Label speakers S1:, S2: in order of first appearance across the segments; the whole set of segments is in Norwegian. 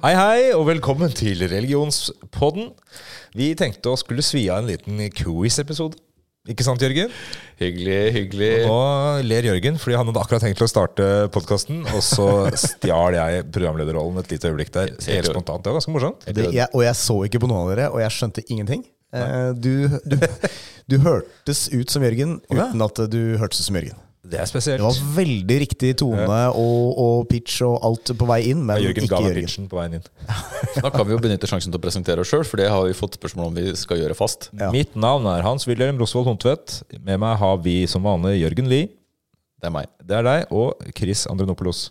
S1: Hei, hei, og velkommen til Religionspodden. Vi tenkte å skulle svi av en liten quiz-episode. Ikke sant, Jørgen?
S2: Hyggelig, hyggelig.
S1: Nå ler Jørgen fordi han hadde akkurat tenkt til å starte podkasten, og så stjal jeg programlederrollen et lite øyeblikk der. Helt spontant. Det var ganske morsomt.
S3: Det, jeg, og jeg så ikke på noen av dere, og jeg skjønte ingenting. Eh, Du, du, du hørtes ut som Jørgen uten at du hørtes ut som Jørgen.
S1: Det er
S3: Det var
S1: spesielt.
S3: veldig riktig tone og, og pitch og alt på vei inn, men
S1: Jørgen
S3: ikke
S1: ga meg
S3: Jørgen.
S1: pitchen på veien inn.
S2: Da kan vi jo benytte sjansen til å presentere oss sjøl, for det har vi fått spørsmål om vi skal gjøre fast.
S3: Ja.
S1: Mitt navn er Hans Wilhelm Rosvold Hontvedt. Med meg har vi som vanlig Jørgen Lie.
S2: Det er meg.
S1: Det er deg. Og Chris Andrenopoulos.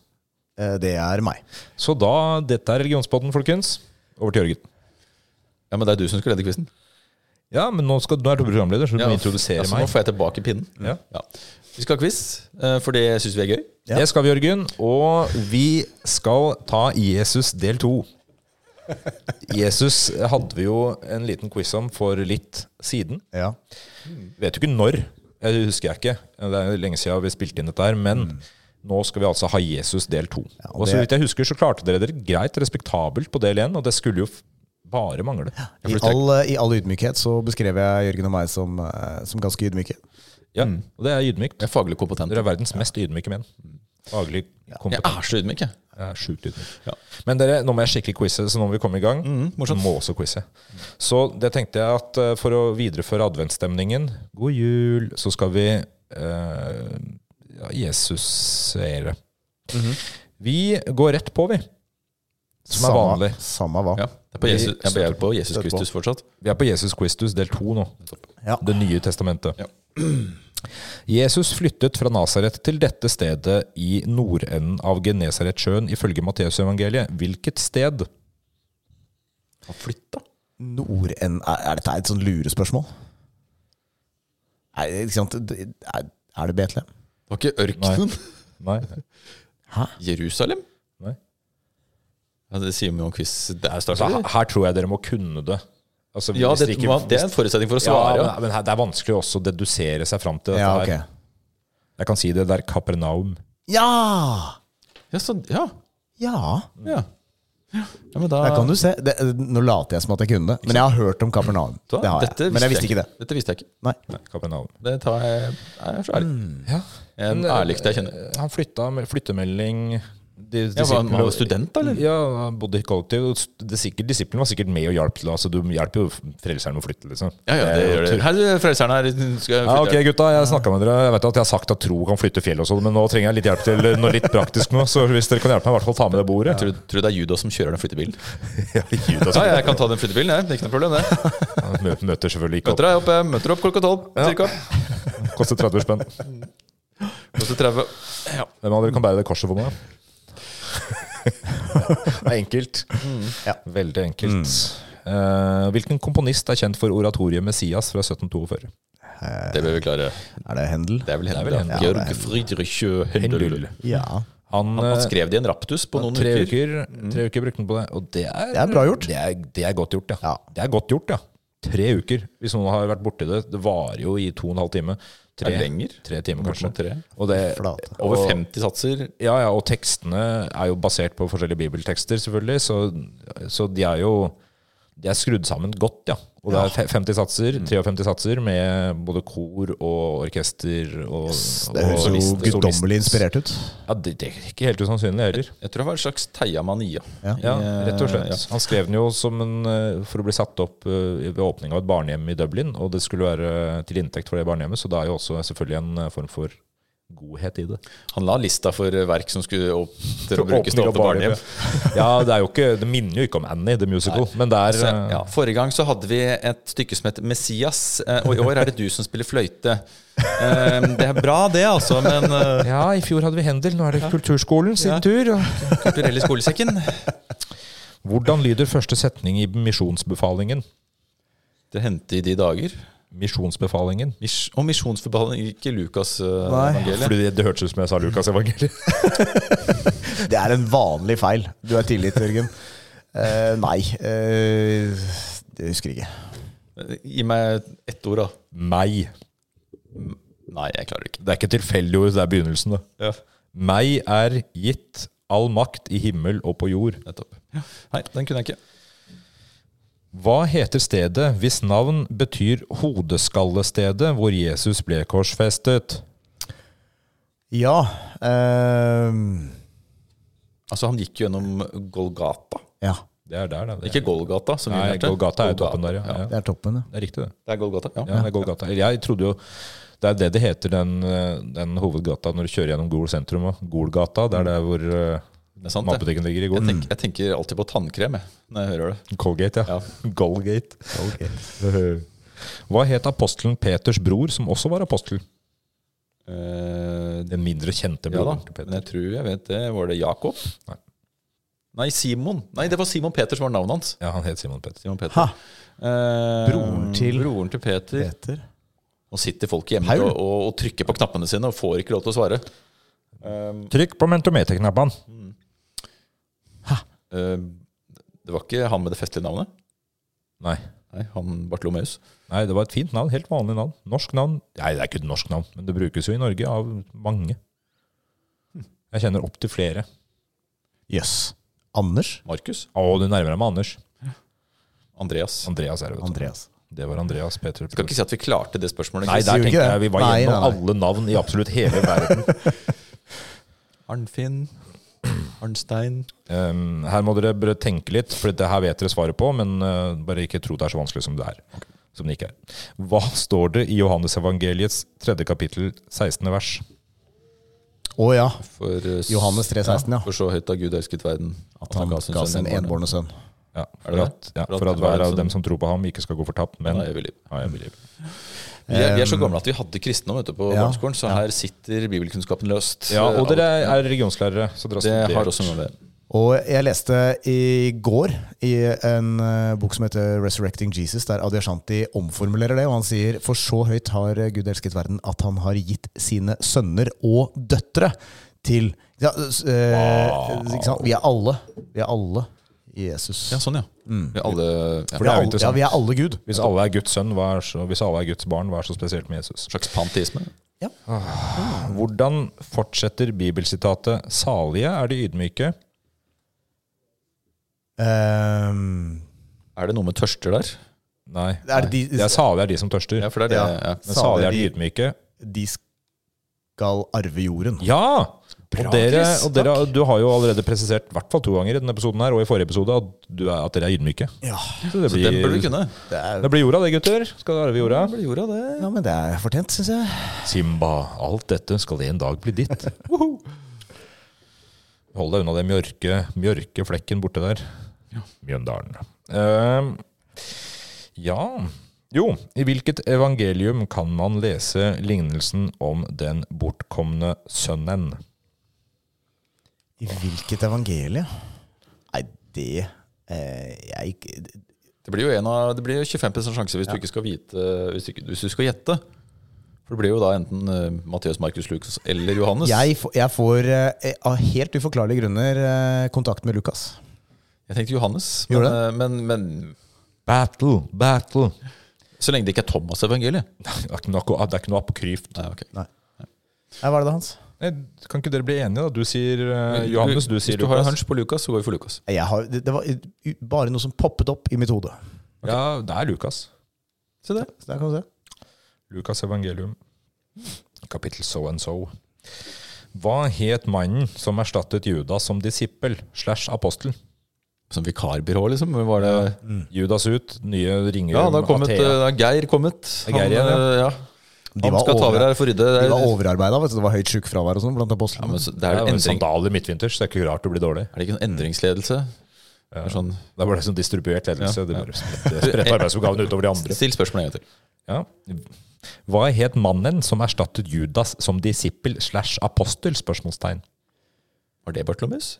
S3: Eh, Det er meg.
S1: Så da, dette er Religionspodden, folkens. Over til Jørgen.
S2: Ja, Men det er du som skulle lede quizen.
S1: Ja, men nå, skal, nå er du programleder, så du må introdusere
S2: altså, Nå
S1: meg.
S2: får jeg tilbake pinnen.
S1: Ja.
S2: Vi skal ha quiz, eh, for det syns vi er gøy.
S3: Ja.
S1: Det skal vi, Jørgen. Og vi skal ta Jesus del to. Jesus hadde vi jo en liten quiz om for litt siden.
S3: Ja.
S1: Vet jo ikke når. Det husker jeg ikke. Det er jo lenge siden vi spilte inn dette her. Men nå skal vi altså ha Jesus del to.
S3: Mm. Ja, og
S1: og så
S3: det-
S1: vidt jeg husker, så klarte dere dere greit respektabelt på del én, og det skulle jo f- bare mangle.
S3: I all, eh, I all ydmykhet så beskrev jeg Jørgen og meg som, eh, som ganske ydmyke.
S1: Ja,
S3: Mm.
S1: og det er ydmykt.
S2: Jeg er faglig kompetent.
S1: Dere er verdens mest ydmyke menn. Faglig
S2: Jeg
S1: kompetent.
S2: er så ydmyk, jeg.
S1: Jeg er sjukt ydmyk. Men dere, nå må jeg skikkelig quize, så nå må vi komme i gang. må også quize. Så det tenkte jeg at eh, for å videreføre adventsstemningen, god jul, så skal vi eh, ja, Jesusere. Vi går rett på, vi. Som er vanlig.
S3: Samme hva.
S2: Ja, det er på Jesus, jeg ber på Jesus
S3: Støtt på.
S2: Kristus fortsatt.
S1: Vi er på Jesus Christus del to nå.
S3: Ja.
S1: Det nye testamentet.
S2: Ja.
S1: Jesus flyttet fra Nasaret til dette stedet i nordenden av Genesaretsjøen ifølge Matteusevangeliet. Hvilket sted?
S2: Han flytta.
S3: Norden Er, er dette et sånt lurespørsmål? Nei, ikke sant? Det- Er, er det Betlehem?
S2: Det var ikke ørkenen.
S1: Nei.
S2: Jerusalem?
S1: Nei.
S2: Ja, det sier vi om quiz der
S1: Så
S2: starter.
S1: her,
S2: vi.
S1: her tror jeg dere må kunne det. Altså,
S2: Ja,
S1: hvis
S2: det,
S1: ikke-
S2: det er en forutsetning for å
S1: ja,
S2: svare.
S1: men, men her, det er vanskelig også å dedusere seg fram til dette
S3: Ja, ok.
S1: her. Jeg kan si det. Det er Kapernaum.
S3: Ja!
S2: Ja, så, ja.
S3: Ja,
S2: ja. ja men da,
S3: der kan du se. Det, nå later jeg som at jeg kunne det, men jeg har hørt om Kapernaum. Det har
S2: Dette
S3: jeg. Men jeg visste ikke det.
S2: Dette visste jeg ikke.
S3: Nei.
S1: Nei, Kapernaum.
S2: Det tar jeg, jeg er så ærlig.
S1: Ja.
S2: Jeg er den ærligste jeg kjenner.
S1: Han flytta med flyttemelding. De,
S2: Jeg var,
S1: disiplene-
S2: han var student, da, eller?
S1: Ja, han bodde i kollektiv. og det sikkert- Disiplinen var sikkert med og hjalp til. Altså, du hjelper jo frelseren med å flytte, liksom.
S2: Ja, ja, det gjør det. Her er frelseren her. Skal Ah, jeg
S1: Ja,
S2: flytte?
S1: ok, gutta. Jeg snakka med dere. Jeg vet at jeg har sagt at tro kan flytte fjell og sånn, men nå trenger jeg litt hjelp til eh, noe litt praktisk nå. Så hvis dere kan hjelpe meg, i hvert fall ta med det bordet.
S2: Tror, du- tror du det er Judas som kjører den flyttebilen?
S1: Ja, Judas
S2: Ja, jeg kan ta den flyttebilen, jeg. Det er ikke noe problem, det.
S1: mø- møter selvfølgelig ikke
S2: Møter
S1: opp.
S2: deg opp, jeg møter opp klokka tolv cirka.
S1: Koster 30 spenn. Hvem
S2: Koster 30. Ja.
S1: av dere kan bære det korset for meg? Det er enkelt.
S3: Ja.
S1: Mm. Veldig enkelt. Eh, hvilken komponist er kjent for oratoriet 'Messias' fra 1742?
S2: Det bør vi klare.
S3: Er det Hendel?
S2: Det er vel
S1: vel
S2: Hendel.
S1: Händel.
S2: ja. Georg Friedrich Händel.
S3: Ja.
S1: Han,
S2: Han
S1: eh,
S2: skrev det i en raptus på noen
S1: tre
S2: uker.
S1: uker, tre uker brukte han på det. Og det er,
S3: Det er bra gjort.
S1: Det er, det er godt gjort, ja.
S3: Ja.
S1: Det er godt gjort, ja. Tre uker. Hvis noen har vært borti det. Det varer jo i to og en halv time. Tre,
S2: Er det lenger?
S1: tre timer, kanskje.
S2: Bortimot tre.
S1: Og det,
S3: Flate.
S2: Over
S1: og-
S2: 50 satser.
S1: Ja, ja, og tekstene er jo basert på forskjellige bibeltekster, selvfølgelig. Så, så de er jo De er skrudd sammen godt, ja. Og det er fe- 50 satser, 53 satser, med både kor og orkester og,
S3: Det høres
S1: og
S3: jo
S1: solist-
S3: guddommelig
S1: solist.
S3: inspirert ut.
S1: Ja, det, det er ikke helt usannsynlig heller.
S2: Jeg tror det var en slags Theia Mania.
S3: Ja.
S1: Ja,
S2: Eh,
S1: rett og slett.
S2: ja.
S1: Han skrev den jo som en, eh, for å bli satt opp eh, ved åpning av et barnehjem i Dublin, og det skulle være til inntekt for det barnehjemmet, så det er jo også selvfølgelig en eh, form for godhet i det.
S2: Han la lista for verk som skulle opp til å brukes til
S1: Åpning
S2: å
S1: av
S2: åpne barnehjem.
S1: barnehjem. Ja, det, er jo ikke, det minner jo ikke om Annie, The Musical, men det er
S2: Så,
S1: eh,
S2: ja, forrige gang så hadde vi et stykke som het Messias, eh, og i år er det du som spiller fløyte. Eh, Det er bra, det, altså, men eh,
S1: ja, i fjor hadde vi Hendel, nå er det Kulturskolen sin
S2: Ja.
S1: tur. og-
S2: Kulturell i skolesekken
S1: Hvordan lyder første setning i misjonsbefalingen?
S2: Det hendte i de dager.
S1: Misjonsbefalingen.
S2: Mis og misjonsforbehandling, ikke eh,
S3: Nei.
S2: Lukas-evangeliet.
S1: Fordi det, det hørtes ut som jeg sa Lukas evangeliet.
S3: Det er en vanlig feil. Du er tilgitt, Jørgen. Eh, nei, eh, det husker jeg ikke.
S2: Gi meg ett ord, da.
S1: Meg.
S2: Nei, jeg klarer det ikke.
S1: Det er ikke tilfeldig ord, det er begynnelsen. Det. Meg er gitt all makt i himmel og på jord.
S2: Nettopp. Nei, den kunne jeg ikke.
S1: Hva heter stedet hvis navn betyr hodeskallestedet hvor Jesus ble korsfestet?
S3: Ja ehm,
S2: Altså, han gikk jo gjennom Golgata.
S3: Ja,
S1: Det er der, da. det.
S2: Ikke Golgata, som vi
S1: Nei,
S2: lærte.
S1: Golgata er toppen der, ja.
S2: ja.
S1: ja.
S3: det er toppen. Ja.
S1: Det er riktig, det.
S2: Det er Golgata, ja.
S1: Ja, det er Golgata. Jeg trodde jo Det er det det heter, den, eh, den hovedgata når du kjører gjennom Gol sentrum. også. Golgata, det er der hvor eh,
S2: Det er sant, det.
S1: matbutikken ligger i
S2: Jeg,
S1: Gol. Mm,
S2: tenk, jeg tenker alltid på tannkrem jeg, når jeg hører det.
S1: Colgate, ja. Golgate.
S3: Ok.
S1: Hva het apostelen Peters bror, som også var apostel?
S2: Eh,
S1: Den mindre kjente
S2: ja da,
S1: broren til
S2: men
S1: Peter.
S2: jeg tror jeg vet det. Var det Jakob?
S1: Nei.
S2: Nei, Simon. Nei, det var Simon Peter som var navnet hans.
S1: Ja, han het Simon Peter.
S2: Simon Peter.
S3: Ha.
S2: Eh,
S3: Broren til-
S2: Broren til Peter.
S3: Peter.
S2: Nå sitter folk hjemme
S3: Paul.
S2: og, og, og trykker på knappene sine og får ikke lov til å svare. Um,
S1: Trykk på mentometerknappene.
S2: eh, det var ikke han med det festlige navnet?
S1: Nei.
S2: Nei, han Bartlomeus.
S1: Nei, det var et fint navn. Helt vanlig navn. Norsk navn. Nei, det er ikke et norsk navn, men det brukes jo i Norge av mange. Jeg kjenner opp til flere.
S3: Jøss. Anders?
S2: Markus?
S1: Å, du nærmer deg med Anders.
S2: Andreas.
S1: Andreas er det, vet du.
S3: Andreas.
S1: Det var Andreas Peter.
S2: Skal ikke si at vi klarte det spørsmålet.
S1: Nei,
S2: Chris.
S1: der
S3: Sier du
S1: tenkte
S3: ikke det?
S1: jeg vi var
S3: Nei,
S1: gjennom
S3: nei, nei.
S1: alle navn i absolutt hele verden.
S2: Arnfinn. Arnstein.
S1: Um, her må dere bare tenke litt, for det her vet dere svaret på, men uh, bare ikke tro det er så vanskelig som det er. Som det ikke er. Hva står det i Johannesevangeliets tredje kapittel, 16. vers?
S3: Å ja.
S2: For, eh, s-
S3: Johannes 3,16, ja.
S2: For så høyt har Gud elsket verden.
S3: At han
S2: sin
S3: ga
S2: sønn
S3: sin
S2: enbårne.
S3: enbårne sønn.
S1: Ja,
S2: Er det
S1: for, at,
S2: det?
S1: ja, for at hver av dem som tror på ham, ikke skal gå fortapt, men
S2: Nei, jeg vil ikke.
S1: Ja, jeg vil-
S2: Vi er, vi er så gamle at vi hadde kristendom vet du, på
S3: Ja.
S2: barneskolen, så her sitter bibelkunnskapen løst.
S1: ja, og
S2: Eh,
S1: dere er regionslærere, så dere
S2: det
S1: studert.
S2: har også noe med det.
S3: Og jeg leste i går i en eh, bok som heter 'Resurrecting Jesus', der Adyashanti omformulerer det, og han sier for så høyt har Gud elsket verden at han har gitt sine sønner og døtre til ja, s- eh, ikke sant? Vi er alle. Vi er alle i Jesus.
S2: Ja, sånn, ja. Vi alle ja,
S3: For
S1: jo
S3: det er alle, ja,
S1: interessant.
S3: vi er alle Gud.
S1: Hvis alle er Guds sønn, hva er så, hvis alle er Guds barn, hva er så spesielt med Jesus?
S2: en slags panteisme.
S1: Hvordan fortsetter bibelsitatet 'salige er de ydmyke'?
S3: Ehm,
S2: Er det noe med tørster der?
S1: Nei.
S3: Er
S1: nei.
S3: det de-
S1: det er salige er de som tørster.
S2: Ja, for det er det. Ja.
S3: Ja.
S1: Men salige er de
S3: salige-
S1: ydmyke.
S3: de skal arve jorden.
S1: Ja!
S2: Bra,
S1: og dere,
S2: Chris.
S1: og dere, du har jo allerede presisert i hvert fall to ganger i denne episoden her, og i forrige episode at, du er, at dere er ydmyke.
S3: Ja,
S1: Så det
S2: Så den burde
S1: blir,
S2: du kunne.
S3: det er,
S1: det blir jorda, det, gutter. Skal dere arve jorda?
S2: Gjorde jeg det?
S3: ja men det er fortjent, syns jeg.
S1: Simba, alt dette skal en dag bli ditt. Woho! Hold deg unna det mjørke, mjørke flekken borte der. Mjøndalen. Ehm, ja Jo, i hvilket evangelium kan man lese lignelsen om den bortkomne sønnen?
S3: I hvilket evangelie? Nei, det eh, jeg, ikke-
S2: Det blir jo en av, det blir jo 25 sjanse hvis du ikke skal vite Hvis du, ikke- hvis du skal gjette. For det blir jo da enten eh, Matteus, Markus, Lukas eller Johannes.
S3: jeg, får- jeg får eh, av helt uforklarlige grunner eh, kontakt med Lukas.
S2: Jeg tenkte Johannes, men,
S3: Gjorde
S2: eh, men, men
S1: Battle, battle.
S2: så lenge det ikke er Thomas' evangeliet.
S1: Det er ikke noe, det er ikke noe apokryft.
S2: Nei, ok.
S3: Nei, hva er det hans?
S1: Nei, Kan ikke dere bli enige, da? Du sier eh, Johannes, du sier
S2: Hvis du har en
S1: Lukas.
S2: hunch på Lukas, så går vi for Lukas.
S3: Jeg har, det, det var eh, u- bare noe som poppet opp i mitt hode.
S1: Ja, det er Lukas.
S2: Se det.
S3: Så der kan du se.
S1: Lukas evangelium, kapittel so and so. Hva het mannen som erstattet Judas som disippel slash apostel?
S2: Som vikarbyrå, liksom? Var det
S1: Judas ut, nye ringer
S2: Ja, da har kommet, eh,
S1: Athea.
S2: da har Geir kommet.
S1: Er Geir igjen, ja?
S2: eh, ja.
S3: De
S2: Han
S3: var
S2: skal ta over
S3: over-
S2: her for rydde. Det
S3: De
S2: er,
S3: var overarbeida, vet du. Det var høyt sjukefravær og sånn blant
S2: ja,
S3: apostlene.
S2: men så, det
S1: Det
S2: er,
S1: er jo en
S3: sånn
S2: endring,
S1: sandaler midtvinters, det er ikke rart du blir dårlig.
S2: er det ikke en endringsledelse? Det er Sånn,
S1: Det er bare sånn distribuert ledelse.
S2: Ja,
S1: Det bare spretter spretter arbeidsoppgavene utover de andre.
S2: still spørsmålet en gang til.
S1: Ja. Hva het mannen som erstattet Judas som disippel slash apostel? Spørsmålstegn.
S2: Var det Bartlomeus?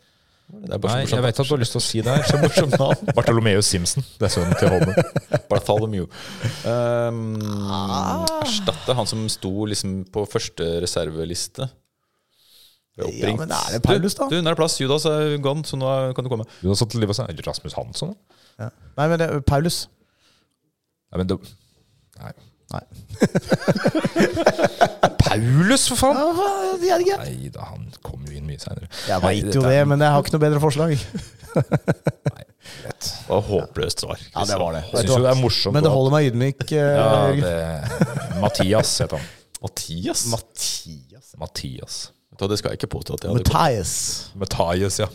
S2: Det er bare
S1: Nei, jeg
S2: så morsomt.
S1: vet at du har lyst til å si det her. Så morsomt navn. Bartolomeus Simpson. Det er sønnen til Holmen.
S2: Bartholomew.
S3: Ah.
S2: Um, erstatte han som sto liksom på første reserveliste. Ble
S3: Ja,
S2: oppringt.
S3: men er det Paulus, da?
S2: Du, du, nå er det plass. Judas er gone, så nå er- kan du komme.
S1: Du har satt til liv og sånn. Eller Rasmus Hansson? da?
S3: Ja. Nei, men det, Paulus.
S1: Nei, men det, nei.
S3: Nei.
S1: Paulus, for faen!
S3: Ja, hva- det er greit.
S1: Nei da, han kom jo inn mye seinere.
S3: Jeg veit jo det, men jeg har ikke noe bedre forslag.
S2: Det var håpløst svar.
S3: Ja, det var det.
S1: Jeg syns jo det er morsomt.
S3: Men det
S1: at-
S3: holder meg ydmyk. eh,
S1: ja,
S3: Jørgen.
S1: det, Mathias het han.
S2: Mathias?
S3: Mathias
S1: Mathias.
S2: Vet du hva, det skal jeg ikke påstå at jeg hadde gått.
S3: Mathias.
S1: Mathias, ja.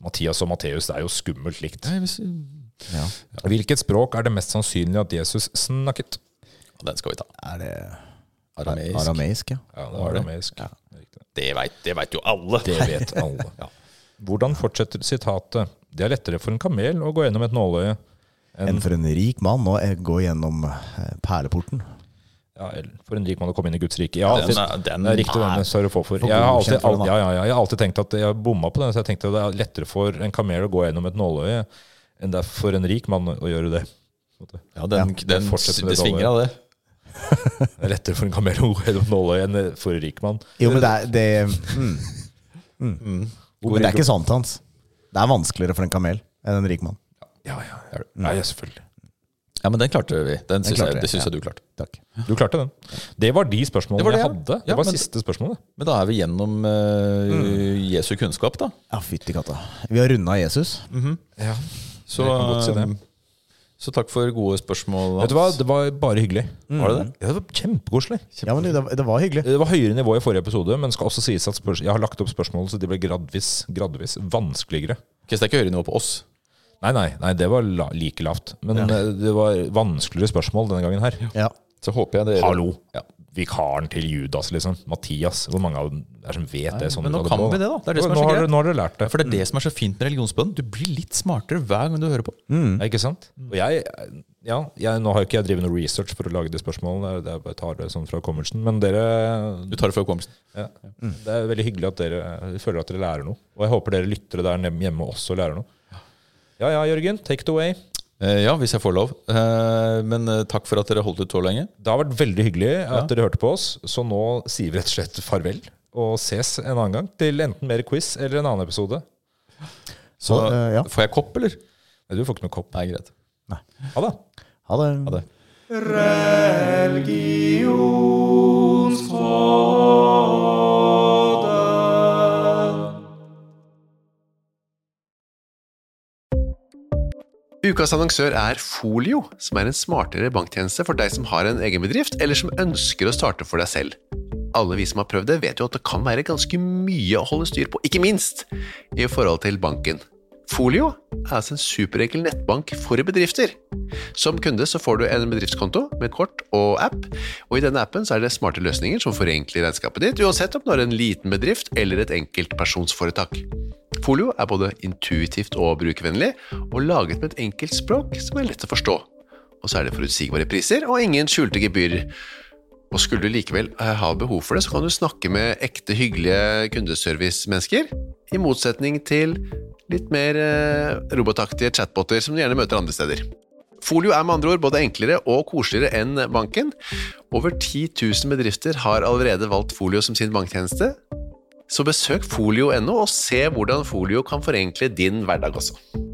S1: Mathias og Matteus, det er jo skummelt likt.
S2: Nei, hvis- Ja.
S1: Hvilket språk er det mest sannsynlig at Jesus snakket?
S2: Ja, Den skal vi ta.
S3: Er det
S2: Arameisk.
S3: arameisk? ja.
S1: Ja, det
S2: Var
S1: var
S2: det?
S1: arameisk. Riktig.
S2: Det vet, det vet jo alle.
S1: Det vet alle.
S2: Ja.
S1: Hvordan fortsetter sitatet? Det er lettere for en kamel å gå gjennom et nåløye.
S3: Enn for en rik mann å eh, gå gjennom eh, perleporten.
S1: Ja, eller for en rik mann å komme inn i Guds rike. Ja,
S2: Den
S1: det
S2: er- den
S1: det er riktig,
S2: er-
S1: den skal du få for.
S3: for
S1: Jeg har alltid,
S3: godkjent for den, da.
S1: ja, ja, ja, jeg har alltid tenkt at jeg bomma på den, så jeg tenkte det er lettere for en kamel å gå gjennom et nåløye enn det er for en rik mann å å gjøre det.
S2: Ja, den, den,
S1: fortsetter med
S2: det
S1: det
S2: svinger av det.
S1: Det er lettere for en kamel å gå gjennom et nåløye enn det for en rik mann.
S3: Jo, men det er, det, mm.
S1: Hvor
S3: men det er
S1: rik-
S3: ikke sant, Hans. Det er vanskeligere for en kamel enn en rik mann.
S1: Ja, ja, ja, ja, ja, selvfølgelig.
S2: Ja, men den klarte vi. Den syns
S3: klarte
S2: jeg,
S3: vi,
S2: det syns
S3: ja.
S2: jeg du klarte.
S3: Takk.
S1: Du klarte den. Det var de spørsmålene
S2: Det var det,
S1: jeg
S2: ja.
S1: hadde. Det
S2: Ja,
S1: var
S2: men-
S1: siste spørsmålet.
S2: Men da er vi gjennom eh, Jesu kunnskap, da.
S3: Ja, fytti katta. Vi har runda Jesus.
S2: Så,
S1: Jeg kan godt si det.
S2: eh, så takk for gode spørsmål.
S1: Vet du hva, det var bare hyggelig.
S2: Mm. Var det det?
S1: Ja, det var kjempekoselig.
S3: Ja, men det, det var hyggelig.
S1: Det var høyere nivå i forrige episode, men skal også sies at spørs jeg har lagt opp spørsmål, så de ble gradvis, gradvis vanskeligere.
S2: Ok, så det er ikke høyere nivå på oss.
S1: Nei, nei, nei det var la like lavt. Men eh, det var vanskeligere spørsmål denne gangen her.
S3: Ja.
S2: Så håper jeg dere
S1: Hallo!
S2: Ja.
S1: Vikaren til Judas, liksom. Mathias. Hvor mange av dem er som vet det? Sånn
S2: men
S1: du
S2: nå
S1: hadde
S2: kan
S1: på,
S2: vi det, da. Det er det som er
S1: nå,
S2: så
S1: har
S2: greit.
S1: dere- nå har dere lært det.
S2: For det er det som er så fint med religionsbønnen. Du blir litt smartere hver gang du hører på.
S1: Ja, ikke sant?
S2: Mm.
S1: Og jeg, ja, jeg, nå har jo ikke jeg drevet noe research for å lage de spørsmålene, det er bare jeg tar det sånn fra kommelsen. Men dere
S2: Du tar det fra hukommelsen.
S1: ja, Mm. Det er veldig hyggelig at dere føler at dere lærer noe. Og jeg håper dere lyttere der nem- hjemme også lærer noe. Ja ja, Jørgen. Take it away.
S2: Eh, ja, hvis jeg får lov. Eh, men eh, takk for at dere holdt ut så lenge.
S1: Det har vært veldig hyggelig at dere hørte på oss, så nå sier vi rett og slett farvel. Og ses en annen gang til enten mer quiz eller en annen episode.
S2: Så
S3: Og, eh, ja.
S2: får jeg kopp, eller?
S1: Nei, Du får ikke noe kopp.
S2: Nei, greit.
S1: Ha det.
S3: Ha det.
S2: Ha det.
S4: Ukas annonsør er Folio, som er en smartere banktjeneste for deg som har en egen bedrift, eller som ønsker å starte for deg selv. Alle vi som har prøvd det, vet jo at det kan være ganske mye å holde styr på, ikke minst i forhold til banken. Folio er altså en superenkel nettbank for bedrifter. Som kunde så får du en bedriftskonto med kort og app, og i denne appen så er det smarte løsninger som forenkler regnskapet ditt, uansett om du har en liten bedrift eller et enkeltpersonsforetak. Folio er både intuitivt og brukervennlig, og laget med et enkelt språk som er lett å forstå. Og så er det forutsigbare priser og ingen skjulte gebyrer. Og skulle du likevel eh, ha behov for det, så kan du snakke med ekte hyggelige kundeservice-mennesker, i motsetning til litt mer eh, robotaktige chatboter som du gjerne møter andre steder. Folio er med andre ord både enklere og koseligere enn banken. Over 10 000 bedrifter har allerede valgt Folio som sin banktjeneste, så besøk folio.no og se hvordan folio kan forenkle din hverdag også.